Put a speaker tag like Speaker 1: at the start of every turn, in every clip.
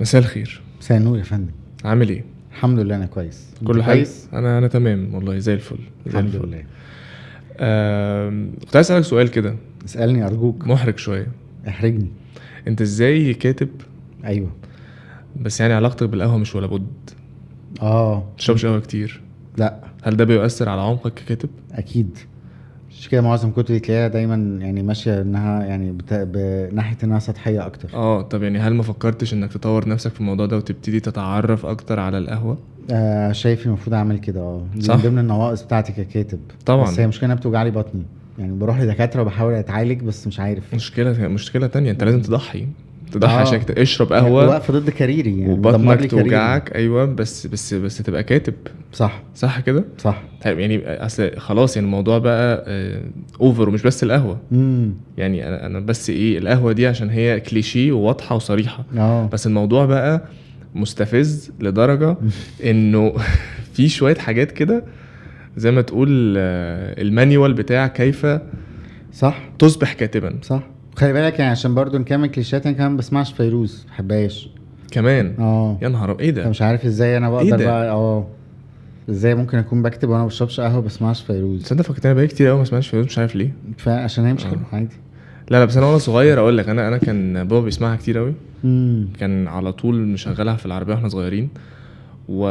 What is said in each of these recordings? Speaker 1: مساء الخير
Speaker 2: مساء النور يا فندم
Speaker 1: عامل ايه
Speaker 2: الحمد لله انا كويس أنت
Speaker 1: كل حاجه
Speaker 2: كويس
Speaker 1: انا انا تمام والله زي الفل زي
Speaker 2: الحمد
Speaker 1: الفل
Speaker 2: لله
Speaker 1: آم، كنت عايز اسالك سؤال كده
Speaker 2: اسالني ارجوك
Speaker 1: محرج شويه
Speaker 2: احرجني
Speaker 1: انت ازاي كاتب
Speaker 2: ايوه
Speaker 1: بس يعني علاقتك بالقهوه مش ولا بد
Speaker 2: اه
Speaker 1: ما بتشربش قهوه كتير
Speaker 2: لا
Speaker 1: هل ده بيؤثر على عمقك ككاتب
Speaker 2: اكيد مش كده معظم كتبي تلاقيها دايما يعني ماشيه انها يعني بت... بناحيه انها سطحيه اكتر
Speaker 1: اه طب يعني هل ما فكرتش انك تطور نفسك في الموضوع ده وتبتدي تتعرف اكتر على القهوه
Speaker 2: آه شايف المفروض اعمل كده اه دي
Speaker 1: صح.
Speaker 2: من ضمن النواقص بتاعتي ككاتب
Speaker 1: طبعاً.
Speaker 2: بس هي مشكله انها بتوجع لي بطني يعني بروح لدكاتره وبحاول اتعالج بس مش عارف
Speaker 1: مشكله مشكله تانية انت لازم تضحي تضحي
Speaker 2: آه.
Speaker 1: عشان كت- اشرب قهوه
Speaker 2: واقفه ضد كاريري يعني بتدمر لي
Speaker 1: وبطنك
Speaker 2: كاريري.
Speaker 1: توجعك ايوه بس بس بس تبقى كاتب
Speaker 2: صح
Speaker 1: صح كده
Speaker 2: صح
Speaker 1: طيب يعني اصل خلاص يعني الموضوع بقى اوفر ومش بس القهوه
Speaker 2: امم
Speaker 1: يعني انا انا بس ايه القهوه دي عشان هي كليشيه وواضحه وصريحه
Speaker 2: اه
Speaker 1: بس الموضوع بقى مستفز لدرجه انه في شويه حاجات كده زي ما تقول آه، المانيوال بتاع كيف
Speaker 2: صح
Speaker 1: تصبح كاتبا
Speaker 2: صح خلي بالك يعني عشان برضو نكمل كليشيهات انا كمان ما بسمعش فيروز ما بحبهاش
Speaker 1: كمان
Speaker 2: اه
Speaker 1: يا نهار ايه ده
Speaker 2: مش عارف ازاي انا
Speaker 1: إيه
Speaker 2: بقدر
Speaker 1: ده؟
Speaker 2: بقى اه ازاي ممكن اكون بكتب وانا ما بشربش قهوه ما بسمعش فيروز
Speaker 1: تصدق فكرت انا بقالي كتير قوي ما سمعتش فيروز مش عارف ليه
Speaker 2: فعشان هي مش
Speaker 1: آه.
Speaker 2: حلوه عادي
Speaker 1: لا لا بس انا وانا صغير اقول لك انا انا كان بابا بيسمعها كتير قوي
Speaker 2: امم
Speaker 1: كان على طول مشغلها في العربيه واحنا صغيرين و...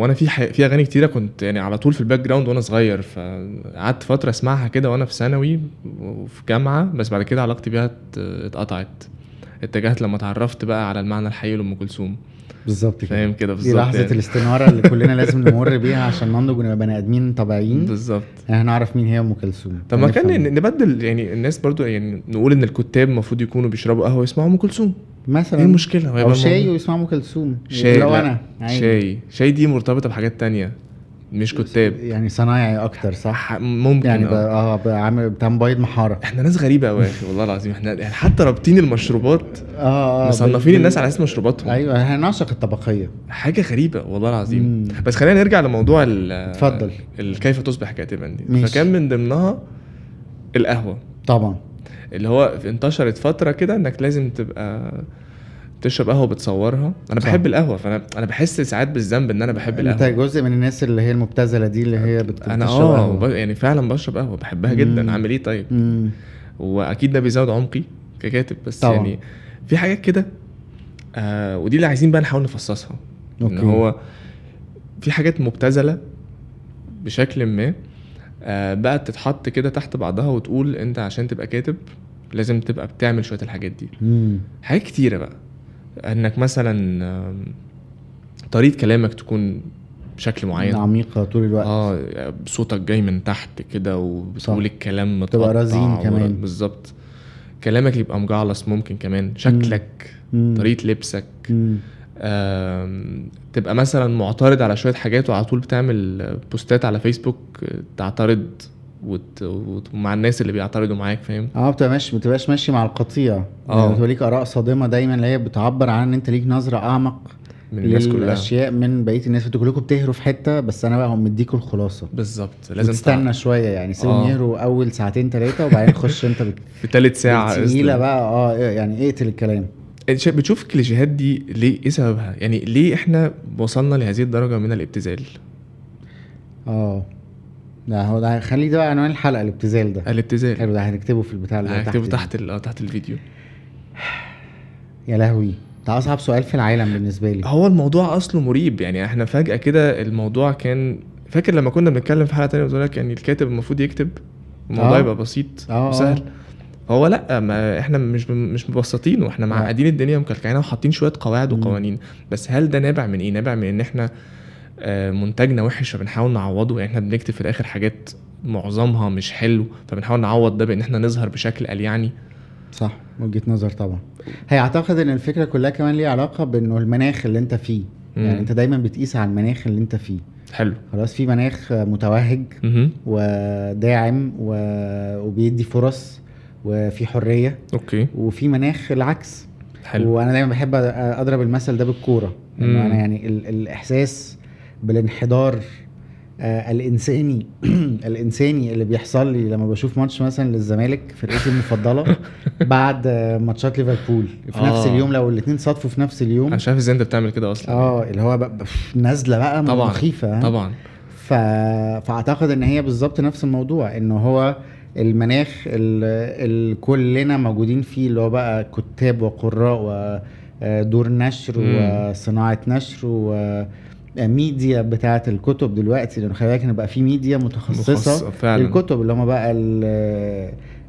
Speaker 1: وانا في ح... في اغاني كتيره كنت يعني على طول في الباك جراوند وانا صغير فقعدت فتره اسمعها كده وانا في ثانوي وفي جامعه بس بعد كده علاقتي بيها ات- اتقطعت اتجهت لما اتعرفت بقى على المعنى الحقيقي لام كلثوم
Speaker 2: بالظبط كده
Speaker 1: فاهم كده بالظبط
Speaker 2: دي لحظه
Speaker 1: يعني.
Speaker 2: الاستناره اللي كلنا لازم نمر بيها عشان ننضج ونبقى بني ادمين طبيعيين
Speaker 1: بالظبط
Speaker 2: احنا نعرف مين هي ام كلثوم
Speaker 1: طب ما
Speaker 2: هنفهم.
Speaker 1: كان ن- نبدل يعني الناس برضو يعني نقول ان الكتاب المفروض يكونوا بيشربوا قهوه ويسمعوا ام كلثوم
Speaker 2: مثلا
Speaker 1: ايه المشكله هو
Speaker 2: او
Speaker 1: يبقى
Speaker 2: شاي
Speaker 1: الموضوع-
Speaker 2: ويسمعوا ام كلثوم
Speaker 1: شاي
Speaker 2: لو
Speaker 1: لا،
Speaker 2: انا عادي.
Speaker 1: شاي شاي دي مرتبطه بحاجات تانية مش كتاب
Speaker 2: يعني صنايعي اكتر صح
Speaker 1: ح- ممكن
Speaker 2: يعني
Speaker 1: آه.
Speaker 2: بقى- اه بقى عامل بتاع مبيض محاره
Speaker 1: احنا ناس غريبه قوي يا اخي والله العظيم احنا يعني حتى رابطين المشروبات
Speaker 2: اه اه
Speaker 1: مصنفين
Speaker 2: بال-
Speaker 1: الناس على آه، اساس مشروباتهم
Speaker 2: ايوه احنا نعشق الطبقيه
Speaker 1: حاجه غريبه والله العظيم
Speaker 2: مم.
Speaker 1: بس خلينا نرجع لموضوع ال
Speaker 2: اتفضل.
Speaker 1: ال- كيف تصبح كاتبا دي
Speaker 2: ماشي.
Speaker 1: فكان من ضمنها القهوه
Speaker 2: طبعا
Speaker 1: اللي هو انتشرت فتره كده انك لازم تبقى تشرب قهوه بتصورها انا
Speaker 2: صح.
Speaker 1: بحب القهوه فانا انا بحس ساعات بالذنب ان انا بحب
Speaker 2: انت
Speaker 1: القهوه
Speaker 2: جزء من الناس اللي هي المبتذله دي اللي هي بت-
Speaker 1: انا
Speaker 2: بتشرب
Speaker 1: اه
Speaker 2: قهوة.
Speaker 1: وب- يعني فعلا بشرب قهوه بحبها
Speaker 2: مم.
Speaker 1: جدا اعمل ايه طيب
Speaker 2: مم.
Speaker 1: واكيد ده بيزود عمقي ككاتب بس
Speaker 2: طبعاً.
Speaker 1: طبعا. يعني في حاجات كده آه ودي اللي عايزين بقى نحاول نفصصها ان
Speaker 2: اوكي
Speaker 1: هو في حاجات مبتذله بشكل ما آه بقى تتحط كده تحت بعضها وتقول انت عشان تبقى كاتب لازم تبقى بتعمل شويه الحاجات دي
Speaker 2: مم.
Speaker 1: حاجات كتيره بقى انك مثلا آم، طريقه كلامك تكون بشكل معين
Speaker 2: عميقه طول الوقت
Speaker 1: اه صوتك جاي من تحت كده وبتقول
Speaker 2: صح.
Speaker 1: الكلام
Speaker 2: تبقى
Speaker 1: متقطع
Speaker 2: رزين
Speaker 1: و-
Speaker 2: كمان.
Speaker 1: بالظبط كلامك يبقى مجعلص ممكن كمان شكلك
Speaker 2: مم.
Speaker 1: طريقه لبسك
Speaker 2: مم.
Speaker 1: آم، تبقى مثلا معترض على شويه حاجات وعلى طول بتعمل بوستات على فيسبوك تعترض وت... وت... مع الناس اللي بيعترضوا معاك فاهم
Speaker 2: اه بتبقى ماشي ما بتبقاش ماشي مع القطيع
Speaker 1: اه.
Speaker 2: يعني بتبقى ليك اراء صادمه دايما اللي هي بتعبر عن ان انت ليك نظره اعمق
Speaker 1: من الناس كلها
Speaker 2: للاشياء من بقيه الناس انتوا كلكم بتهروا في حته بس انا بقى هم مديكوا الخلاصه
Speaker 1: بالظبط لازم
Speaker 2: لازم شويه يعني سيبهم
Speaker 1: اه.
Speaker 2: يهروا اول ساعتين ثلاثه وبعدين خش انت بت-
Speaker 1: في ثالث ساعه
Speaker 2: تقيله
Speaker 1: قصدي.
Speaker 2: بقى اه يعني اقتل الكلام
Speaker 1: انت شا- بتشوف الكليشيهات دي ليه ايه سببها يعني ليه احنا وصلنا لهذه الدرجه من الابتذال
Speaker 2: اه ده هو ده خليه ده بقى عنوان الحلقه الابتذال ده
Speaker 1: الابتذال
Speaker 2: حلو ده هنكتبه في البتاع اللي هو
Speaker 1: هكتبه
Speaker 2: دي.
Speaker 1: تحت ال- اه تحت الفيديو
Speaker 2: يا لهوي ده اصعب سؤال في العالم بالنسبه لي
Speaker 1: هو الموضوع اصله مريب يعني احنا فجاه كده الموضوع كان فاكر لما كنا بنتكلم في حلقه تانية بتقول لك يعني الكاتب المفروض يكتب الموضوع
Speaker 2: اه.
Speaker 1: يبقى بسيط
Speaker 2: اه، اه.
Speaker 1: وسهل هو لا ما احنا مش مش مبسطينه احنا معقدين الدنيا ومكلكعينها وحاطين شويه قواعد
Speaker 2: مم.
Speaker 1: وقوانين بس هل ده نابع من ايه نابع من ان احنا آه، منتجنا وحش فبنحاول نعوضه يعني احنا بنكتب في الاخر حاجات معظمها مش حلو فبنحاول نعوض ده بان احنا نظهر بشكل يعني. اليعني
Speaker 2: صح وجهه نظر طبعا هي اعتقد ان الفكره كلها كمان ليها علاقه بانه المناخ اللي انت فيه
Speaker 1: مم.
Speaker 2: يعني انت دايما بتقيس على المناخ اللي انت فيه
Speaker 1: حلو
Speaker 2: خلاص في مناخ متوهج
Speaker 1: مهم.
Speaker 2: وداعم و... وبيدي فرص وفي حريه
Speaker 1: اوكي
Speaker 2: وفي مناخ العكس
Speaker 1: حلو
Speaker 2: وانا دايما بحب اضرب المثل ده بالكوره
Speaker 1: مم.
Speaker 2: انه انا يعني ال- الاحساس بالانحدار آه الانساني الانساني اللي بيحصل لي لما بشوف ماتش مثلا للزمالك فرقتي المفضله بعد آه ماتشات ليفربول في نفس
Speaker 1: آه.
Speaker 2: اليوم لو الاثنين صادفوا في نفس اليوم
Speaker 1: انا مش عارف ازاي انت بتعمل كده يعني اصلا
Speaker 2: اه اللي هو بقى بقى نازله بقى
Speaker 1: طبعاً.
Speaker 2: مخيفه ها؟
Speaker 1: طبعا
Speaker 2: ف... فاعتقد ان هي بالظبط نفس الموضوع ان هو المناخ اللي كلنا موجودين فيه اللي هو بقى كتاب وقراء ودور نشر
Speaker 1: مم.
Speaker 2: وصناعه نشر وميديا بتاعه الكتب دلوقتي لان خلي بالك ان بقى في ميديا متخصصه
Speaker 1: مخصصة فعلا
Speaker 2: للكتب اللي هم بقى ال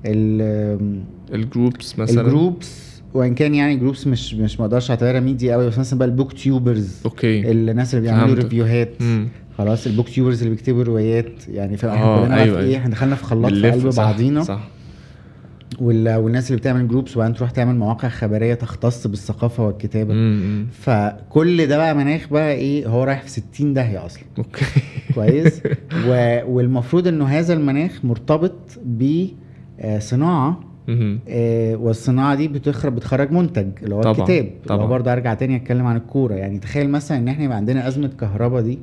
Speaker 2: ال
Speaker 1: الجروبس مثلا
Speaker 2: الجروبس وان كان يعني جروبس مش مش ما اقدرش اعتبرها ميديا قوي بس مثلا بقى البوك تيوبرز
Speaker 1: اوكي
Speaker 2: الناس اللي بيعملوا
Speaker 1: فهمتك.
Speaker 2: ريفيوهات
Speaker 1: امم
Speaker 2: خلاص البوك تيوبرز اللي بيكتبوا روايات يعني فاهم
Speaker 1: آه،
Speaker 2: احنا كلنا
Speaker 1: أيوة،
Speaker 2: أيوة ايه
Speaker 1: أيوة.
Speaker 2: احنا دخلنا في خلاط في
Speaker 1: بنلف،
Speaker 2: قلب
Speaker 1: صح،
Speaker 2: بعضينا
Speaker 1: صح
Speaker 2: وال... والناس اللي بتعمل جروبس وبعدين تروح تعمل مواقع خبريه تختص بالثقافه والكتابه م.
Speaker 1: امم
Speaker 2: فكل ده بقى مناخ بقى ايه هو رايح في 60 داهيه اصلا
Speaker 1: اوكي
Speaker 2: كويس و... والمفروض انه هذا المناخ مرتبط ب آه، صناعه
Speaker 1: مم.
Speaker 2: آه، والصناعه دي بتخرج بتخرج منتج اللي هو
Speaker 1: طبعاً،
Speaker 2: الكتاب
Speaker 1: طبعاً.
Speaker 2: طبعا برضه ارجع تاني اتكلم عن الكوره يعني تخيل مثلا ان احنا يبقى عندنا ازمه كهرباء دي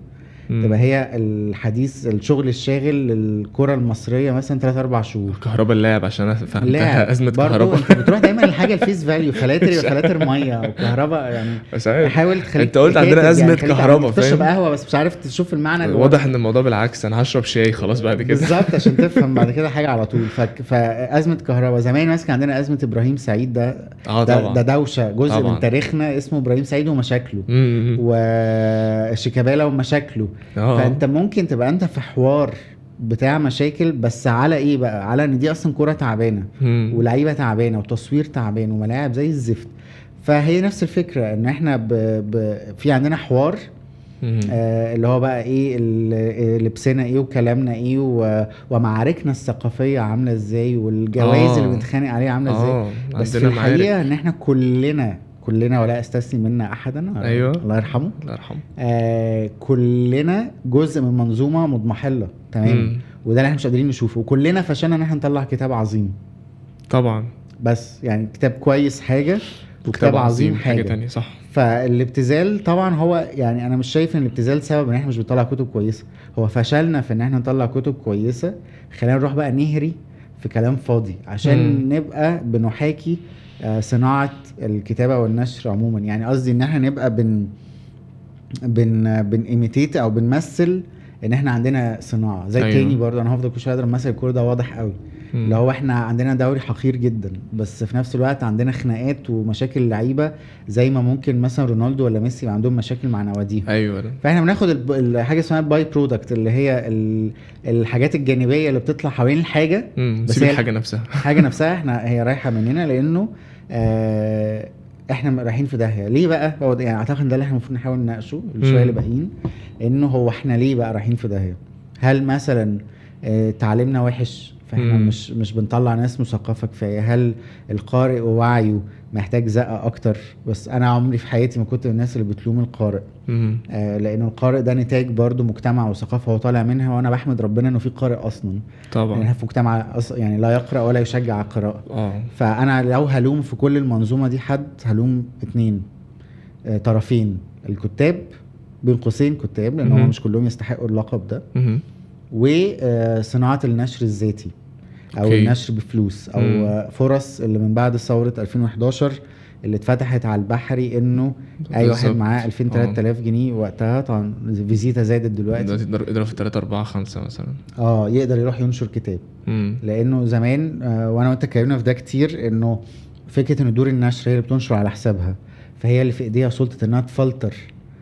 Speaker 1: مم.
Speaker 2: تبقى هي الحديث الشغل الشاغل للكره المصريه مثلا 3 4 شهور
Speaker 1: كهرباء اللاعب عشان انا
Speaker 2: لاعب
Speaker 1: فهمتها ازمه
Speaker 2: برضه
Speaker 1: كهرباء
Speaker 2: انت بتروح دايما للحاجه الفيس فاليو فلاتر فلاتر ميه وكهرباء يعني
Speaker 1: مش عارف
Speaker 2: حاول تخليك
Speaker 1: أنت قلت
Speaker 2: كاتب
Speaker 1: عندنا أزمة
Speaker 2: خليك عارف
Speaker 1: كهرباء،
Speaker 2: تشرب
Speaker 1: فاهم؟
Speaker 2: قهوه بس مش عارف تشوف المعنى اللي
Speaker 1: واضح ان الموضوع بالعكس انا هشرب شاي خلاص بعد كده
Speaker 2: بالظبط عشان تفهم بعد كده حاجه على طول فك... فازمه كهرباء زمان مثلا كان عندنا ازمه ابراهيم سعيد ده
Speaker 1: اه
Speaker 2: ده,
Speaker 1: طبعا
Speaker 2: ده دوشه جزء
Speaker 1: طبعاً.
Speaker 2: من تاريخنا اسمه ابراهيم سعيد ومشاكله
Speaker 1: مم، مم.
Speaker 2: وشيكابالا ومشاكله
Speaker 1: اه
Speaker 2: فانت ممكن تبقى انت في حوار بتاع مشاكل بس على ايه بقى على ان دي اصلا كوره تعبانه
Speaker 1: مم.
Speaker 2: ولعيبه تعبانه وتصوير تعبان وملاعب زي الزفت فهي نفس الفكره ان احنا ب... ب... في عندنا حوار
Speaker 1: مم.
Speaker 2: آه اللي هو بقى ايه ال- آه، لبسنا ايه وكلامنا ايه و... ومعاركنا الثقافيه عامله ازاي والجوائز
Speaker 1: آه.
Speaker 2: اللي بنتخانق عليها عامله ازاي
Speaker 1: اه
Speaker 2: بس في
Speaker 1: عندنا معارك
Speaker 2: الحقيقه ان احنا كلنا كلنا ولا استثني منا احدا
Speaker 1: أيوة.
Speaker 2: الله يرحمه
Speaker 1: الله يرحمه
Speaker 2: آه كلنا جزء من منظومه مضمحله تمام
Speaker 1: مم.
Speaker 2: وده اللي احنا مش قادرين نشوفه وكلنا فشلنا ان احنا نطلع كتاب عظيم
Speaker 1: طبعا
Speaker 2: بس يعني كتاب كويس حاجه وكتاب عظيم حاجه,
Speaker 1: حاجه تانية صح
Speaker 2: فالابتذال طبعا هو يعني انا مش شايف ان الابتذال سبب ان احنا مش بنطلع كتب كويسه هو فشلنا في ان احنا نطلع كتب كويسه خلينا نروح بقى نهري في كلام فاضي عشان
Speaker 1: مم.
Speaker 2: نبقى بنحاكي آه، صناعه الكتابه والنشر عموما يعني قصدي ان احنا نبقى بن بن بنيميتيت او بنمثل ان احنا عندنا صناعه زي
Speaker 1: أيوة.
Speaker 2: أيوة. تاني برضه انا هفضل كل شويه اضرب مثل الكوره ده واضح قوي
Speaker 1: مم.
Speaker 2: اللي هو احنا عندنا دوري حقير جدا بس في نفس الوقت عندنا خناقات ومشاكل لعيبه زي ما ممكن مثلا رونالدو ولا ميسي يبقى عندهم مشاكل مع نواديهم
Speaker 1: ايوه
Speaker 2: فاحنا بناخد الب- الحاجه اسمها الباي برودكت اللي هي ال- الحاجات الجانبيه اللي بتطلع حوالين الحاجه
Speaker 1: مم.
Speaker 2: بس
Speaker 1: سيب
Speaker 2: هي-
Speaker 1: الحاجه نفسها
Speaker 2: الحاجه نفسها احنا هي رايحه مننا لانه آه احنا رايحين في داهيه ليه بقى هو ده- يعني اعتقد ده اللي احنا المفروض نحاول نناقشه
Speaker 1: مم.
Speaker 2: الشويه اللي باقيين انه هو احنا ليه بقى رايحين في داهيه هل مثلا آه تعليمنا وحش فاحنا
Speaker 1: مم.
Speaker 2: مش مش بنطلع ناس مثقفه كفايه هل القارئ ووعيه محتاج زقه اكتر بس انا عمري في حياتي ما كنت من الناس اللي بتلوم القارئ
Speaker 1: مم.
Speaker 2: آه لان القارئ ده نتاج برضو مجتمع وثقافه هو طالع منها وانا بحمد ربنا انه في قارئ اصلا يعني
Speaker 1: طبعا
Speaker 2: احنا في مجتمع أص- يعني لا يقرا ولا يشجع على القراءه
Speaker 1: اه
Speaker 2: فانا لو هلوم في كل المنظومه دي حد هلوم اتنين آه، طرفين الكتاب بين قوسين كتاب لان هم
Speaker 1: مهم.
Speaker 2: مش كلهم يستحقوا اللقب ده
Speaker 1: مهم.
Speaker 2: وصناعه النشر الذاتي او
Speaker 1: أوكي.
Speaker 2: النشر بفلوس او
Speaker 1: مم.
Speaker 2: آه، فرص اللي من بعد ثوره 2011 اللي اتفتحت على البحري انه اي واحد
Speaker 1: بالظبط.
Speaker 2: معاه 2000
Speaker 1: آه.
Speaker 2: 3000 جنيه وقتها طبعا فيزيتا زادت دلوقتي
Speaker 1: دلوقتي تقدر تضرب في 3 4 5 مثلا
Speaker 2: اه يقدر يروح ينشر كتاب
Speaker 1: مم.
Speaker 2: لانه زمان آه، وانا وانت اتكلمنا في ده كتير انه فكره ان دور النشر هي اللي بتنشر على حسابها فهي اللي في ايديها سلطه انها تفلتر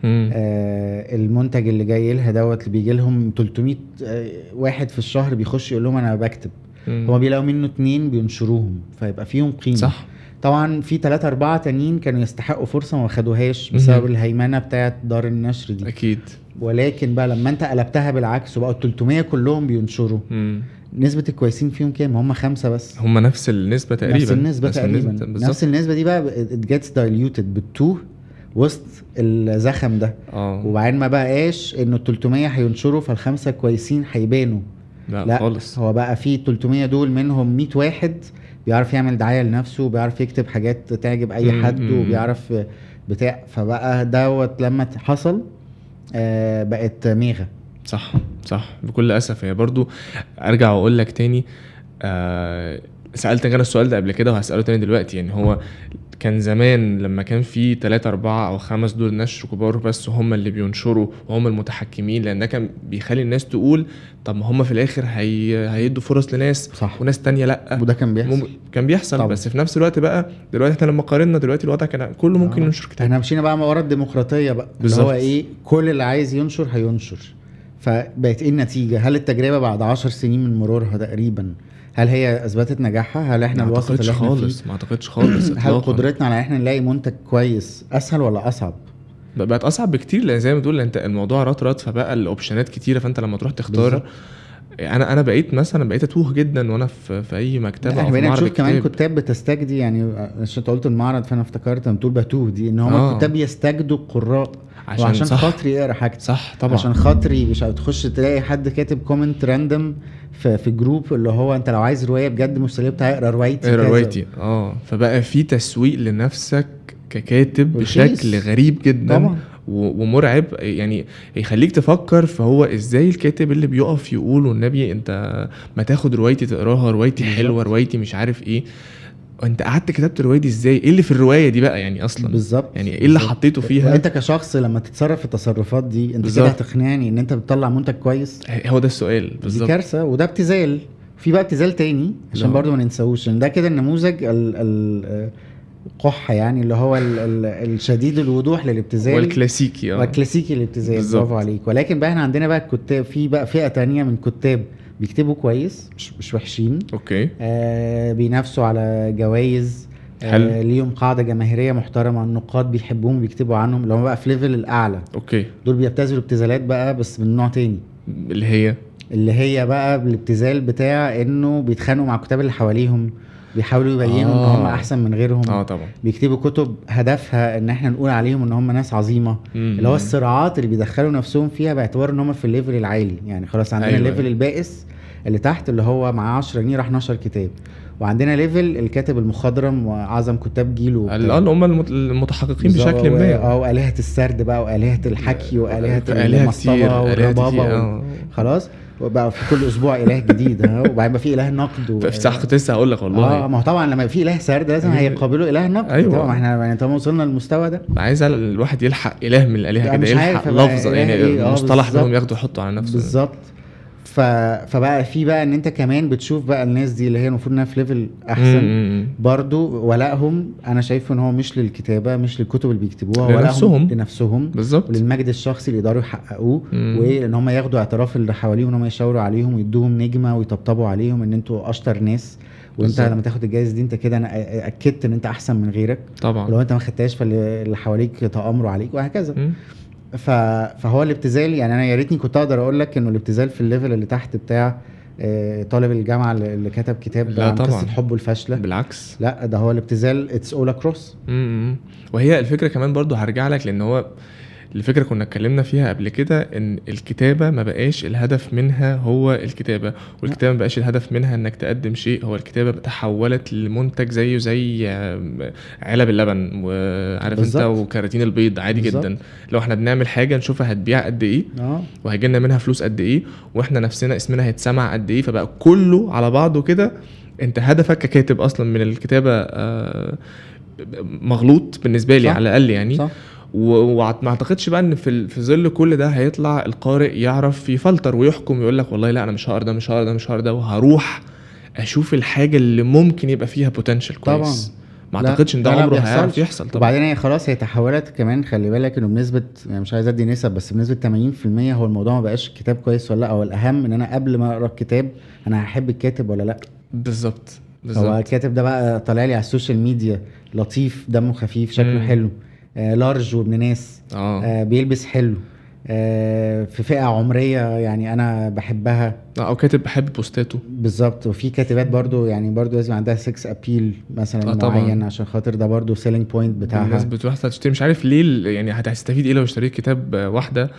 Speaker 1: مم.
Speaker 2: آه المنتج اللي جاي لها دوت اللي بيجي لهم 300 آه واحد في الشهر بيخش يقول لهم انا بكتب
Speaker 1: مم.
Speaker 2: هما بيلاقوا منه اتنين بينشروهم فيبقى فيهم قيمه
Speaker 1: صح
Speaker 2: طبعا في ثلاثة أربعة تانيين كانوا يستحقوا فرصة وما خدوهاش بسبب
Speaker 1: مهم.
Speaker 2: الهيمنة بتاعت دار النشر دي
Speaker 1: اكيد
Speaker 2: ولكن بقى لما انت قلبتها بالعكس وبقوا 300 كلهم بينشروا
Speaker 1: مم.
Speaker 2: نسبة الكويسين فيهم كام؟ هم خمسة بس
Speaker 1: هم نفس النسبه تقريبا
Speaker 2: نفس النسبة تقريبا
Speaker 1: بالظبط.
Speaker 2: نفس النسبة دي بقى it gets diluted بتتوه وسط الزخم ده
Speaker 1: اه
Speaker 2: وبعدين ما بقاش انه ال 300 هينشروا فالخمسه كويسين هيبانوا
Speaker 1: لا,
Speaker 2: لا
Speaker 1: خالص
Speaker 2: هو بقى في 300 دول منهم 100 واحد بيعرف يعمل دعايه لنفسه وبيعرف يكتب حاجات تعجب اي
Speaker 1: مم،
Speaker 2: حد
Speaker 1: مم.
Speaker 2: وبيعرف بتاع فبقى دوت لما حصل آه بقت ميغا
Speaker 1: صح صح بكل اسف هي برضو ارجع واقول لك تاني آه سالت انا السؤال ده قبل كده وهساله تاني دلوقتي يعني هو كان زمان لما كان في تلاتة أربعة أو خمس دول نشر كبار بس هم اللي بينشروا وهم المتحكمين لأن ده كان بيخلي الناس تقول طب ما هم في الآخر هي... هيدوا فرص لناس
Speaker 2: صح
Speaker 1: وناس تانية لأ
Speaker 2: وده كان
Speaker 1: مم...
Speaker 2: بيحصل
Speaker 1: كان بيحصل
Speaker 2: طبعا.
Speaker 1: بس في نفس الوقت بقى دلوقتي احنا لما قارنا دلوقتي الوضع كان كله ممكن
Speaker 2: آه.
Speaker 1: ينشر كتاب
Speaker 2: احنا مشينا بقى ورا الديمقراطيه بقى اللي
Speaker 1: بالظبط.
Speaker 2: هو ايه كل اللي عايز ينشر هينشر فبقت ايه النتيجه هل التجربه بعد عشر سنين من مرورها تقريبا هل هي اثبتت نجاحها هل احنا
Speaker 1: ما
Speaker 2: الوسط
Speaker 1: اعتقدش
Speaker 2: اللي احنا
Speaker 1: خالص
Speaker 2: خالص.
Speaker 1: ما اعتقدش خالص
Speaker 2: فيه هل
Speaker 1: إطلاقاً.
Speaker 2: قدرتنا على ان احنا نلاقي منتج كويس اسهل ولا اصعب
Speaker 1: بق- بقت اصعب بكتير لان زي ما تقول انت الموضوع رطرط فبقى الاوبشنات كتيره فانت لما تروح
Speaker 2: بالظبط.
Speaker 1: تختار انا انا بقيت مثلا بقيت اتوه جدا وانا في, في اي مكتبه او
Speaker 2: احنا
Speaker 1: في
Speaker 2: بقينا
Speaker 1: معرض
Speaker 2: نشوف كمان
Speaker 1: الكتاب.
Speaker 2: كتاب بتستجدي يعني عشان انت قلت المعرض فانا افتكرت لما بتقول بتوه دي ان هم
Speaker 1: آه.
Speaker 2: الكتاب يستجدوا القراء
Speaker 1: عشان,
Speaker 2: وعشان
Speaker 1: صح
Speaker 2: خاطري يقرا حاجتي
Speaker 1: صح طبعا
Speaker 2: عشان خاطري مش هتخش تلاقي حد كاتب كومنت راندم في, في جروب اللي هو انت لو عايز روايه بجد مسليه بتاع اقرا روايتي
Speaker 1: اقرا
Speaker 2: كذا.
Speaker 1: روايتي اه فبقى في تسويق لنفسك ككاتب
Speaker 2: رخيص.
Speaker 1: بشكل غريب جدا
Speaker 2: طبعا
Speaker 1: و- ومرعب يعني يخليك تفكر فهو ازاي الكاتب اللي بيقف يقول والنبي انت ما تاخد روايتي تقراها روايتي
Speaker 2: بالظبط.
Speaker 1: حلوه روايتي مش عارف ايه انت قعدت كتبت الروايه دي ازاي ايه اللي في الروايه دي بقى يعني اصلا
Speaker 2: بالظبط
Speaker 1: يعني ايه اللي
Speaker 2: بالظبط.
Speaker 1: حطيته فيها
Speaker 2: وانت كشخص لما تتصرف في التصرفات دي انت كده
Speaker 1: بالظبط.
Speaker 2: هتقنعني ان انت بتطلع منتج كويس
Speaker 1: هو ده السؤال
Speaker 2: دي
Speaker 1: بالظبط
Speaker 2: كارثه وده ابتذال في بقى ابتذال تاني عشان
Speaker 1: لا.
Speaker 2: برضو ما ننساهوش ان ده كده النموذج ال ال القحه يعني اللي هو ال ال الشديد الوضوح للابتذال
Speaker 1: والكلاسيكي اه
Speaker 2: والكلاسيكي الابتذال
Speaker 1: بالظبط.
Speaker 2: برافو عليك ولكن بقى احنا عندنا بقى الكتاب في بقى فئه تانية من كتاب بيكتبوا كويس مش مش وحشين
Speaker 1: اوكي
Speaker 2: آه بينافسوا على جوائز آه
Speaker 1: حلو.
Speaker 2: ليهم قاعده جماهيريه محترمه النقاد بيحبوهم بيكتبوا عنهم اللي هم بقى في ليفل الاعلى
Speaker 1: اوكي
Speaker 2: دول بيبتذلوا ابتذالات بقى بس من نوع تاني
Speaker 1: اللي هي
Speaker 2: اللي هي بقى الابتذال بتاع انه بيتخانقوا مع الكتاب اللي حواليهم بيحاولوا يبينوا ان هم
Speaker 1: آه.
Speaker 2: احسن من غيرهم
Speaker 1: اه طبعا
Speaker 2: بيكتبوا كتب هدفها ان احنا نقول عليهم ان هم ناس عظيمه اللي هو الصراعات اللي بيدخلوا نفسهم فيها باعتبار ان هم في الليفل العالي يعني خلاص عندنا
Speaker 1: أيوة،
Speaker 2: الليفل
Speaker 1: أيوة.
Speaker 2: البائس اللي تحت اللي هو معاه 10 جنيه راح نشر كتاب وعندنا ليفل الكاتب المخضرم واعظم كتاب جيله وبتاع.
Speaker 1: ال- اه اللي هم المت- المتحققين
Speaker 2: بالظبط، آه،
Speaker 1: بشكل
Speaker 2: و-
Speaker 1: ما آه،
Speaker 2: اه والهه السرد بقى والهه الحكي والهه
Speaker 1: آلهة كتير
Speaker 2: المصطبه
Speaker 1: آلهة
Speaker 2: والربابه
Speaker 1: كتير،
Speaker 2: وال-
Speaker 1: آه.
Speaker 2: خلاص وبقى في كل اسبوع اله جديد ها وبعدين بقى في اله نقد و...
Speaker 1: صح كنت لسه هقول لك
Speaker 2: اه
Speaker 1: والله
Speaker 2: ما هو طبعا لما في اله سرد لازم
Speaker 1: أيوة.
Speaker 2: هيقابله اله نقد
Speaker 1: أيوة.
Speaker 2: طبعا ما احنا يعني طالما وصلنا للمستوى ده
Speaker 1: عايز على الواحد يلحق اله من الالهه
Speaker 2: لا،
Speaker 1: كده
Speaker 2: يعني مش
Speaker 1: يلحق
Speaker 2: عارف أبقى
Speaker 1: لفظه
Speaker 2: إله
Speaker 1: يعني
Speaker 2: إيه، آه،
Speaker 1: مصطلح منهم
Speaker 2: بالظبط.
Speaker 1: ياخده يحطه على نفسه
Speaker 2: بالظبط ف... فبقى في بقى ان انت كمان بتشوف بقى الناس دي اللي هي المفروض انها في ليفل احسن
Speaker 1: احسن
Speaker 2: برضو ولائهم انا شايفه ان هو مش للكتابه مش للكتب اللي بيكتبوها ولائهم
Speaker 1: لنفسهم.
Speaker 2: لنفسهم
Speaker 1: بالظبط
Speaker 2: وللمجد الشخصي اللي يقدروا يحققوه
Speaker 1: مم.
Speaker 2: وان هم ياخدوا اعتراف اللي حواليهم ان هم يشاوروا عليهم ويدوهم نجمه ويطبطبوا عليهم ان انتوا اشطر ناس وانت
Speaker 1: بالظبط.
Speaker 2: لما تاخد الجائزه دي انت كده انا أ- اكدت ان انت احسن من غيرك
Speaker 1: طبعا
Speaker 2: ولو انت ما خدتهاش فاللي اللي حواليك تامروا عليك وهكذا
Speaker 1: مم.
Speaker 2: ف... فهو الابتذال يعني انا يا ريتني كنت اقدر اقول لك انه الابتذال في الليفل اللي تحت بتاع آه، طالب الجامعه اللي اللي كتب كتاب
Speaker 1: لا
Speaker 2: عن
Speaker 1: طبعا.
Speaker 2: قصه حبه الفاشله
Speaker 1: بالعكس
Speaker 2: لا ده هو الابتذال اتس اول اكروس
Speaker 1: مم. وهي الفكره كمان برضو هرجع لك لان هو الفكره كنا اتكلمنا فيها قبل كده ان الكتابه ما بقاش الهدف منها هو الكتابه والكتابه ما بقاش الهدف منها انك تقدم شيء هو الكتابه تحولت لمنتج زيه زي آم، علب اللبن وعارف انت
Speaker 2: بالظبط.
Speaker 1: وكراتين البيض عادي
Speaker 2: بالظبط.
Speaker 1: جدا لو احنا بنعمل حاجه نشوفها هتبيع قد ايه
Speaker 2: اه
Speaker 1: وهيجي لنا منها فلوس قد ايه واحنا نفسنا اسمنا هيتسمع قد ايه فبقى كله على بعضه كده انت هدفك ككاتب اصلا من الكتابه آه، مغلوط بالنسبه لي
Speaker 2: صح.
Speaker 1: على الاقل يعني
Speaker 2: صح
Speaker 1: و- وما اعتقدش بقى ان في ال- في ظل كل ده هيطلع القارئ يعرف يفلتر ويحكم يقول لك والله لا انا مش هقرا ده مش هقرا ده مش هقرا ده وهروح اشوف الحاجه اللي ممكن يبقى فيها بوتنشال كويس ما
Speaker 2: لا،
Speaker 1: اعتقدش ان ده
Speaker 2: لا، لا،
Speaker 1: عمره
Speaker 2: بيحصلش.
Speaker 1: هيعرف يحصل طبعا
Speaker 2: وبعدين هي خلاص هي تحولت كمان خلي بالك انه بنسبه يعني مش عايز ادي نسب بس بنسبه 80% هو الموضوع ما بقاش الكتاب كويس ولا لا هو الاهم ان انا قبل ما اقرا الكتاب انا هحب الكاتب ولا لا
Speaker 1: بالظبط
Speaker 2: هو
Speaker 1: بالظبط
Speaker 2: الكاتب ده بقى طالع لي على السوشيال ميديا لطيف دمه خفيف شكله
Speaker 1: مم.
Speaker 2: حلو آه لارج وابن ناس
Speaker 1: اه
Speaker 2: آه بيلبس حلو آه في فئه عمريه يعني انا بحبها
Speaker 1: او كاتب بحب بوستاته
Speaker 2: بالظبط وفي كاتبات برضو يعني برضو لازم عندها سكس ابيل مثلا
Speaker 1: آه
Speaker 2: آه
Speaker 1: طبعاً.
Speaker 2: معين عشان خاطر ده برضو سيلينج بوينت بتاعها
Speaker 1: يعني إيه الناس بتروح تشتري مش عارف ليه ال- يعني هتستفيد ايه لو اشتريت كتاب آه، واحده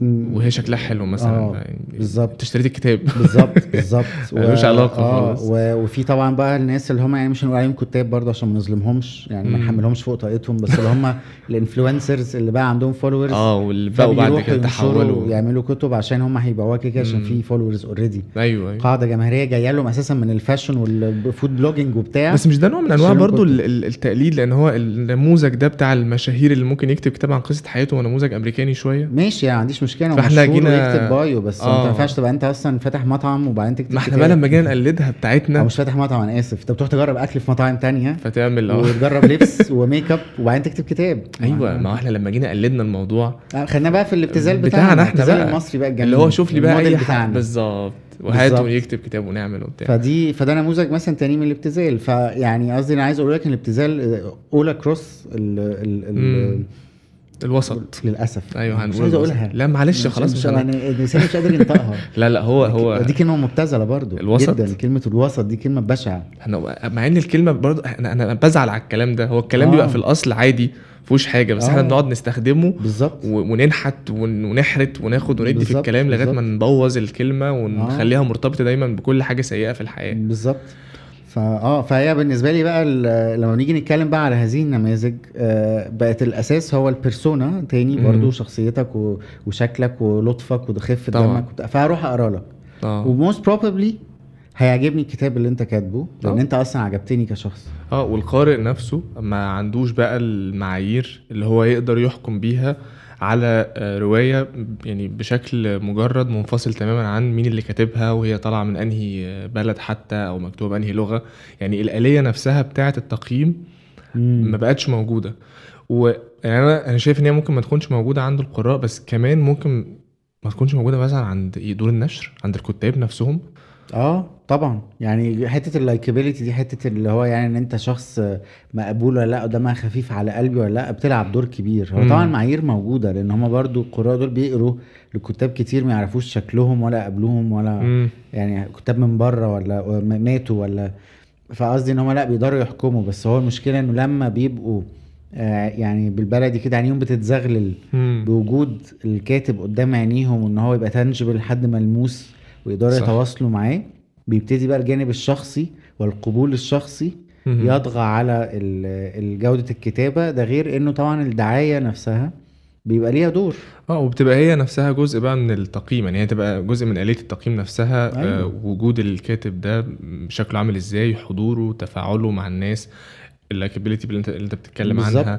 Speaker 2: م-
Speaker 1: وهي شكلها حلو مثلا
Speaker 2: آه،
Speaker 1: يعني
Speaker 2: بالظبط.
Speaker 1: انت اشتريت الكتاب
Speaker 2: بالظبط بالظبط و-
Speaker 1: ملوش علاقة
Speaker 2: آه
Speaker 1: خالص.
Speaker 2: و... وفي طبعا بقى الناس اللي هم يعني مش هنقول عليهم كتاب برضه عشان ما نظلمهمش يعني ما
Speaker 1: مم.
Speaker 2: نحملهمش فوق طاقتهم بس اللي هم الانفلونسرز اللي بقى عندهم فولورز
Speaker 1: اه واللي بقوا بعد كده تحولوا
Speaker 2: يعملوا كتب عشان هم هيبيعوها كده كده عشان
Speaker 1: مم.
Speaker 2: في فولورز اوريدي
Speaker 1: ايوه ايوه
Speaker 2: قاعده جماهيريه جايه لهم اساسا من الفاشن والفود بلوجينج وبتاع
Speaker 1: بس مش ده نوع من انواع
Speaker 2: شيلهم
Speaker 1: برضو
Speaker 2: كتب.
Speaker 1: ال- ال- التقليد لان هو النموذج ده بتاع المشاهير اللي ممكن يكتب كتاب عن قصه حياته هو نموذج امريكاني شويه
Speaker 2: ماشي يعني ما عنديش مشكله هو
Speaker 1: فإحنا
Speaker 2: مشهور
Speaker 1: جينا-
Speaker 2: ويكتب بايو بس انت
Speaker 1: آه.
Speaker 2: ما ينفعش تبقى انت اصلا فاتح مطعم وبعدين تكتب
Speaker 1: ما احنا
Speaker 2: كتاب.
Speaker 1: بقى لما جينا نقلدها
Speaker 2: او
Speaker 1: بتاعتنا
Speaker 2: مش فاتح مطعم انا اسف انت بتروح تجرب اكل في مطاعم تانية
Speaker 1: فتعمل اه
Speaker 2: وتجرب لبس وميك اب وبعدين تكتب كتاب يعني
Speaker 1: ايوه ما هو احنا لما جينا قلدنا الموضوع
Speaker 2: آه، خلينا بقى في الابتذال
Speaker 1: بتاعنا
Speaker 2: بتاعنا
Speaker 1: احنا
Speaker 2: الابتذال
Speaker 1: بقى.
Speaker 2: المصري بقى الجميل
Speaker 1: اللي هو شوف لي بقى
Speaker 2: الموديل
Speaker 1: اي حد
Speaker 2: بتاعنا
Speaker 1: بالظبط
Speaker 2: بالظبط.
Speaker 1: وهاته ويكتب كتاب ونعمل وبتاع
Speaker 2: فدي فده نموذج مثلا تاني من الابتذال فيعني قصدي انا عايز اقول لك ان الابتذال آه، اول كروس ال ال ال
Speaker 1: مم. الوسط
Speaker 2: للاسف
Speaker 1: ايوه
Speaker 2: مش
Speaker 1: هنقول الوسط.
Speaker 2: عايز اقولها
Speaker 1: لا معلش
Speaker 2: مش-
Speaker 1: خلاص
Speaker 2: مش
Speaker 1: مش هن-
Speaker 2: يعني الانسان مش قادر ينطقها
Speaker 1: لا لا هو هو
Speaker 2: دي كلمه مبتذله برضو
Speaker 1: الوسط؟
Speaker 2: جدا كلمه الوسط دي كلمه بشعه
Speaker 1: احنا مع ان الكلمه برضه انا انا أنا بزعل على الكلام ده هو الكلام
Speaker 2: آه.
Speaker 1: آه. بيبقى في الاصل عادي مفيهوش حاجه بس
Speaker 2: آه.
Speaker 1: احنا بنقعد نستخدمه
Speaker 2: بالظبط
Speaker 1: و- وننحت ون- ونحرت وناخد وندي في
Speaker 2: بالظبط،
Speaker 1: الكلام لغايه ما
Speaker 2: بالظبط. آه.
Speaker 1: نبوظ الكلمه ونخليها مرتبطه دايما بكل حاجه سيئه في الحياه
Speaker 2: بالظبط فا اه فهي بالنسبه لي بقى ال- لما نيجي نتكلم بقى على هذه النماذج آه بقت الاساس هو البيرسونا تاني
Speaker 1: مم.
Speaker 2: برضو شخصيتك و- وشكلك ولطفك وخفه
Speaker 1: طبعا.
Speaker 2: دمك وبتاع. فهروح اقرا لك
Speaker 1: اه
Speaker 2: وموست بروبلي هيعجبني الكتاب اللي انت كاتبه لان
Speaker 1: آه.
Speaker 2: انت اصلا عجبتني كشخص
Speaker 1: اه والقارئ نفسه ما عندوش بقى المعايير اللي هو يقدر يحكم بيها على آه، روايه يعني بشكل مجرد منفصل تماما عن مين اللي كاتبها وهي طالعه من انهي آه، بلد حتى او مكتوبه بانهي لغه يعني الاليه نفسها بتاعه التقييم ما بقتش موجوده ويعني انا انا شايف ان هي ممكن ما تكونش موجوده عند القراء بس كمان ممكن ما تكونش موجوده مثلا عند دور النشر عند الكتاب نفسهم
Speaker 2: اه طبعا يعني حته اللايكابيليتي دي حته اللي هو يعني ان انت شخص مقبول ولا لا قدامها خفيف على قلبي ولا لا بتلعب دور كبير هو
Speaker 1: مم.
Speaker 2: طبعا معايير موجوده لان هما برضو القراء دول بيقروا لكتاب كتير ما يعرفوش شكلهم ولا قبلهم ولا
Speaker 1: مم.
Speaker 2: يعني كتاب من بره ولا م- ماتوا ولا فقصدي ان هم لا بيقدروا يحكموا بس هو المشكله انه لما بيبقوا آه يعني بالبلدي كده عينيهم بتتزغلل
Speaker 1: مم.
Speaker 2: بوجود الكاتب قدام عينيهم وان هو يبقى تنجبل لحد ملموس ويقدروا
Speaker 1: صح.
Speaker 2: يتواصلوا معاه بيبتدي بقى الجانب الشخصي والقبول الشخصي
Speaker 1: مم.
Speaker 2: يطغى على ال- ال- جوده الكتابه ده غير انه طبعا الدعايه نفسها بيبقى ليها دور
Speaker 1: اه وبتبقى هي نفسها جزء بقى من التقييم يعني هي تبقى جزء من آلية التقييم نفسها
Speaker 2: أيوة.
Speaker 1: أيوة. آه وجود الكاتب ده شكله عامل ازاي حضوره تفاعله مع الناس اللايكابيليتي اللي انت اللي انت بتتكلم عنها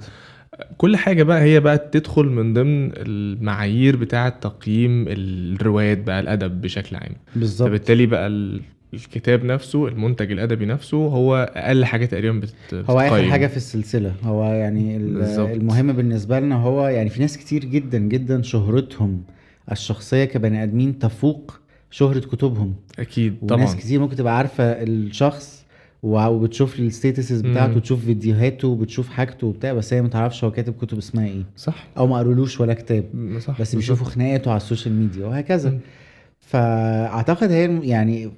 Speaker 1: كل حاجة بقى هي بقى تدخل من ضمن المعايير بتاعة تقييم الروايات بقى الأدب بشكل عام
Speaker 2: بالظبط
Speaker 1: فبالتالي بقى ال- الكتاب نفسه المنتج الأدبي نفسه هو أقل حاجة تقريبا بت...
Speaker 2: هو اخر
Speaker 1: بتقيم.
Speaker 2: حاجه في السلسله هو يعني ال-
Speaker 1: بالظبط.
Speaker 2: المهم بالنسبه لنا هو يعني في ناس كتير جدا جدا شهرتهم الشخصيه كبني ادمين تفوق شهره كتبهم
Speaker 1: أكيد طبعا
Speaker 2: وناس كتير ممكن تبقى عارفه الشخص وع- وبتشوف الستيتسز بتاعته
Speaker 1: مم.
Speaker 2: وتشوف فيديوهاته وبتشوف حاجته وبتاع بس هي ما تعرفش هو كاتب كتب اسمها ايه
Speaker 1: صح
Speaker 2: او ما قالولوش ولا كتاب
Speaker 1: صح
Speaker 2: بس
Speaker 1: بالظبط.
Speaker 2: بيشوفوا خناقاته على السوشيال ميديا وهكذا
Speaker 1: مم.
Speaker 2: فاعتقد هي الم- يعني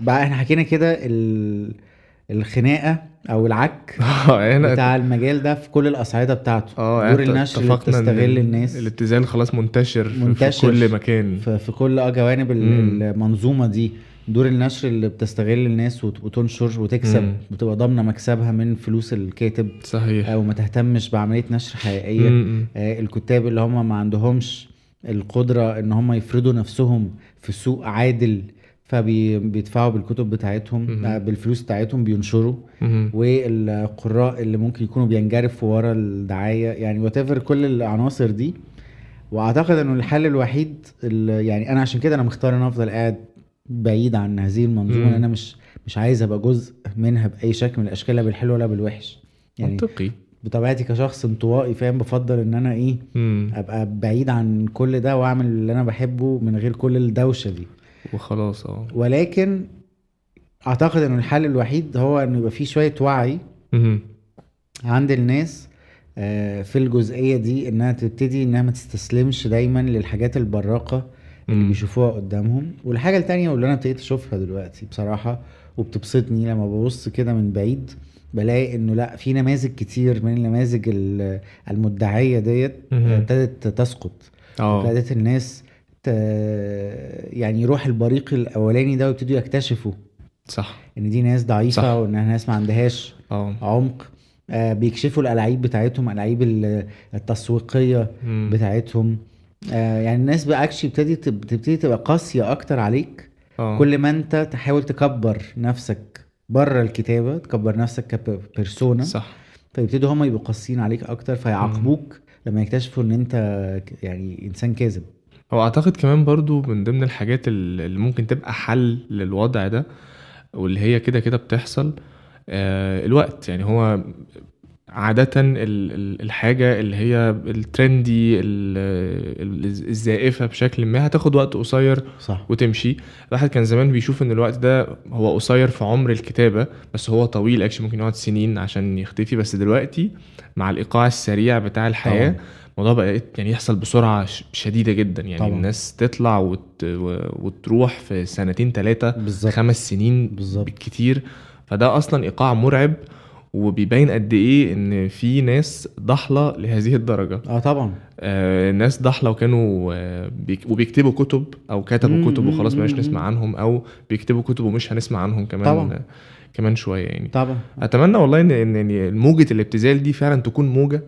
Speaker 2: بقى احنا حكينا كده ال... الخناقه او العك
Speaker 1: اه هنا
Speaker 2: بتاع المجال ده في كل الاصعده بتاعته
Speaker 1: اه
Speaker 2: دور
Speaker 1: يعني
Speaker 2: النشر اللي
Speaker 1: اتفقنا إن
Speaker 2: بتستغل الناس
Speaker 1: الابتذال خلاص منتشر, في-
Speaker 2: منتشر
Speaker 1: في كل مكان
Speaker 2: في, في كل اه جوانب ال-
Speaker 1: مم.
Speaker 2: المنظومه دي دور النشر اللي بتستغل الناس وت- وتنشر وتكسب
Speaker 1: مم.
Speaker 2: وتبقى ضامنه مكسبها من فلوس الكاتب
Speaker 1: صحيح
Speaker 2: او ما تهتمش بعمليه نشر حقيقيه
Speaker 1: مم.
Speaker 2: آه، الكتاب اللي هم ما عندهمش القدرة ان هم يفرضوا نفسهم في سوق عادل فبيدفعوا بالكتب بتاعتهم
Speaker 1: مهم.
Speaker 2: آه، بالفلوس بتاعتهم بينشروا
Speaker 1: مم.
Speaker 2: والقراء اللي ممكن يكونوا بينجرفوا ورا الدعاية يعني وتفر كل العناصر دي واعتقد انه الحل الوحيد اللي- يعني انا عشان كده انا مختار ان أنا افضل قاعد بعيد عن هذه المنظومة
Speaker 1: مم.
Speaker 2: لأن انا مش مش عايز ابقى جزء منها باي شكل من الاشكال لا بالحلو ولا بالوحش يعني
Speaker 1: منطقي
Speaker 2: بطبيعتي كشخص انطوائي فاهم بفضل ان انا ايه
Speaker 1: مم.
Speaker 2: ابقى بعيد عن كل ده واعمل اللي انا بحبه من غير كل الدوشه دي
Speaker 1: وخلاص اه
Speaker 2: ولكن اعتقد ان الحل الوحيد هو ان يبقى في شويه وعي
Speaker 1: مم.
Speaker 2: عند الناس آه، في الجزئيه دي انها تبتدي انها ما تستسلمش دايما للحاجات البراقه اللي
Speaker 1: مم.
Speaker 2: بيشوفوها قدامهم والحاجه التانية واللي انا ابتديت اشوفها دلوقتي بصراحه وبتبسطني لما ببص كده من بعيد بلاقي انه لا في نماذج كتير من النماذج ال- المدعيه ديت
Speaker 1: مهم.
Speaker 2: ابتدت تسقط
Speaker 1: اه
Speaker 2: ابتدت الناس ت... يعني يروح البريق الاولاني ده ويبتدوا يكتشفوا
Speaker 1: صح
Speaker 2: ان دي ناس ضعيفه
Speaker 1: صح.
Speaker 2: وان ناس ما عندهاش
Speaker 1: اه
Speaker 2: عمق آه بيكشفوا الالعاب بتاعتهم الالعاب ال- التسويقيه
Speaker 1: مم.
Speaker 2: بتاعتهم آه يعني الناس بقى اكشلي ابتدت تبتدي تبقى قاسيه اكتر عليك
Speaker 1: اه
Speaker 2: كل ما انت تحاول تكبر نفسك بره الكتابه تكبر نفسك كبيرسونا
Speaker 1: صح
Speaker 2: فيبتدوا هم يبقوا قاسيين عليك اكتر فيعاقبوك لما يكتشفوا ان انت ك- يعني انسان كاذب
Speaker 1: هو اعتقد كمان برضو من ضمن الحاجات ال- اللي ممكن تبقى حل للوضع ده واللي هي كده كده بتحصل آه، الوقت يعني هو عادة ال- ال- الحاجة اللي هي الترندي ال- ال- الزائفة بشكل ما هتاخد وقت قصير
Speaker 2: صح
Speaker 1: وتمشي الواحد كان زمان بيشوف ان الوقت ده هو قصير في عمر الكتابه بس هو طويل اكشن ممكن يقعد سنين عشان يختفي بس دلوقتي مع الايقاع السريع بتاع الحياه
Speaker 2: طبعاً.
Speaker 1: الموضوع بقى يعني يحصل بسرعه ش- شديده جدا يعني
Speaker 2: طبعاً.
Speaker 1: الناس تطلع وت... و- وتروح في سنتين ثلاثه
Speaker 2: بالظبط
Speaker 1: خمس سنين
Speaker 2: بالظبط.
Speaker 1: بالكتير فده اصلا ايقاع مرعب وبيبين قد ايه ان في ناس ضحله لهذه الدرجه
Speaker 2: اه طبعا
Speaker 1: آه، الناس ضحله وكانوا آه، بيك- وبيكتبوا كتب او كتبوا
Speaker 2: مم،
Speaker 1: كتب
Speaker 2: مم،
Speaker 1: وخلاص مش
Speaker 2: مم،
Speaker 1: نسمع
Speaker 2: مم.
Speaker 1: عنهم او بيكتبوا كتب ومش هنسمع عنهم كمان
Speaker 2: طبعاً.
Speaker 1: آه، كمان شويه يعني
Speaker 2: طبعا
Speaker 1: اتمنى والله ان ان إن موجه الابتذال دي فعلا تكون موجه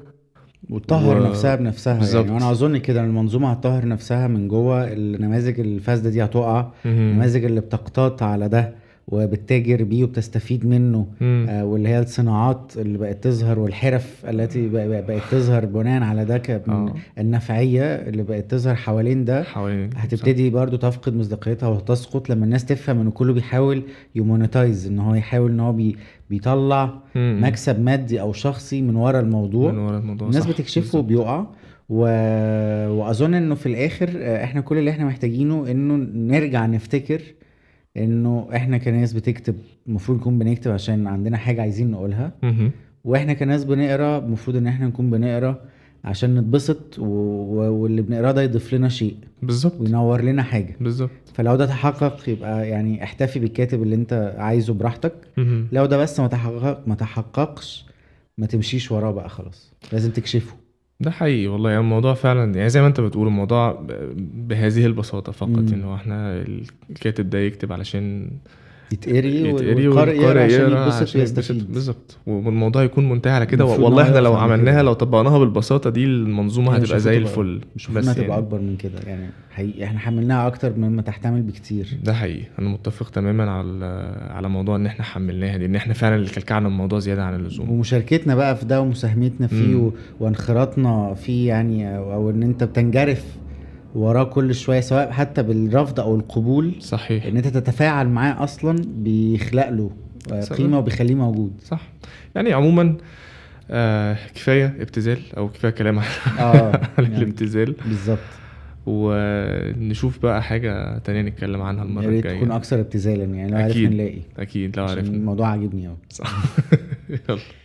Speaker 2: وتطهر
Speaker 1: و-
Speaker 2: نفسها بنفسها
Speaker 1: بالظبط.
Speaker 2: يعني وانا اظن كده إن المنظومه هتطهر نفسها من جوه النماذج الفاسده دي هتقع النماذج اللي بتقتات على ده وبتتاجر بيه وبتستفيد منه
Speaker 1: مم.
Speaker 2: آه، واللي هي الصناعات اللي بقت تظهر والحرف التي بق- بق- بقت تظهر بناء على ده ك- من
Speaker 1: آه.
Speaker 2: النفعيه اللي بقت تظهر حوالين ده
Speaker 1: حوالين
Speaker 2: آه، هتبتدي برضو تفقد مصداقيتها وتسقط لما الناس تفهم ان كله بيحاول يمونيتايز ان هو يحاول ان هو بي بيطلع
Speaker 1: مم.
Speaker 2: مكسب مادي او شخصي من ورا الموضوع
Speaker 1: من ورا الموضوع
Speaker 2: الناس
Speaker 1: صح،
Speaker 2: بتكشفه
Speaker 1: بالظبط.
Speaker 2: وبيقع و... واظن انه في الاخر آه، احنا كل اللي احنا محتاجينه انه نرجع نفتكر انه احنا كناس بتكتب المفروض نكون بنكتب عشان عندنا حاجه عايزين نقولها
Speaker 1: مهم.
Speaker 2: واحنا كناس بنقرا المفروض ان احنا نكون بنقرا عشان نتبسط و... و... واللي بنقراه ده يضيف لنا شيء
Speaker 1: بالظبط
Speaker 2: وينور لنا حاجه
Speaker 1: بالظبط
Speaker 2: فلو ده تحقق يبقى يعني احتفي بالكاتب اللي انت عايزه براحتك
Speaker 1: مهم.
Speaker 2: لو ده بس ما تحقق ما تحققش ما تمشيش وراه بقى خلاص لازم تكشفه
Speaker 1: ده حقيقي والله يعني الموضوع فعلا يعني زي ما انت بتقول الموضوع ب- بهذه البساطه فقط
Speaker 2: مم.
Speaker 1: ان هو احنا الكاتب ده يكتب علشان
Speaker 2: يتقري
Speaker 1: يتقري
Speaker 2: والقارئ يقرا
Speaker 1: والقارئ
Speaker 2: عشان
Speaker 1: يقرا
Speaker 2: يتبسط
Speaker 1: عشان
Speaker 2: ويستفيد
Speaker 1: بالظبط والموضوع يكون منتهي على كده
Speaker 2: المفروض
Speaker 1: والله
Speaker 2: إن هو
Speaker 1: احنا لو
Speaker 2: يوصل لكده.
Speaker 1: عملناها لو طبقناها بالبساطه دي المنظومه
Speaker 2: أنا
Speaker 1: هتبقى
Speaker 2: شايفها
Speaker 1: زي
Speaker 2: تبقى-
Speaker 1: الفل
Speaker 2: المفروض
Speaker 1: بس
Speaker 2: انها تبقى
Speaker 1: يعني
Speaker 2: اكبر من كده يعني حقيقي احنا حملناها اكتر مما تحتمل بكتير
Speaker 1: ده حقيقي انا متفق تماما على على موضوع ان احنا حملناها دي ان احنا فعلا اللي كلكعنا الموضوع زياده عن اللزوم
Speaker 2: ومشاركتنا بقى في ده ومساهمتنا فيه
Speaker 1: مم.
Speaker 2: و... وانخراطنا فيه يعني او أو ان انت بتنجرف وراه كل شويه سواء حتى بالرفض او القبول
Speaker 1: صحيح
Speaker 2: ان انت تتفاعل معاه اصلا بيخلق له آه،
Speaker 1: صح.
Speaker 2: قيمه وبيخليه موجود
Speaker 1: صح يعني عموما آه كفايه ابتذال او كفايه كلام عن
Speaker 2: اه
Speaker 1: عن
Speaker 2: يعني
Speaker 1: الابتذال
Speaker 2: بالظبط
Speaker 1: ونشوف بقى حاجه تانية نتكلم عنها المره
Speaker 2: يا ريت تكون
Speaker 1: الجايه
Speaker 2: اكثر ابتذالا يعني لو عرفنا
Speaker 1: أكيد.
Speaker 2: نلاقي
Speaker 1: اكيد لو
Speaker 2: عشان
Speaker 1: عرفنا
Speaker 2: الموضوع عاجبني قوي
Speaker 1: صح يلا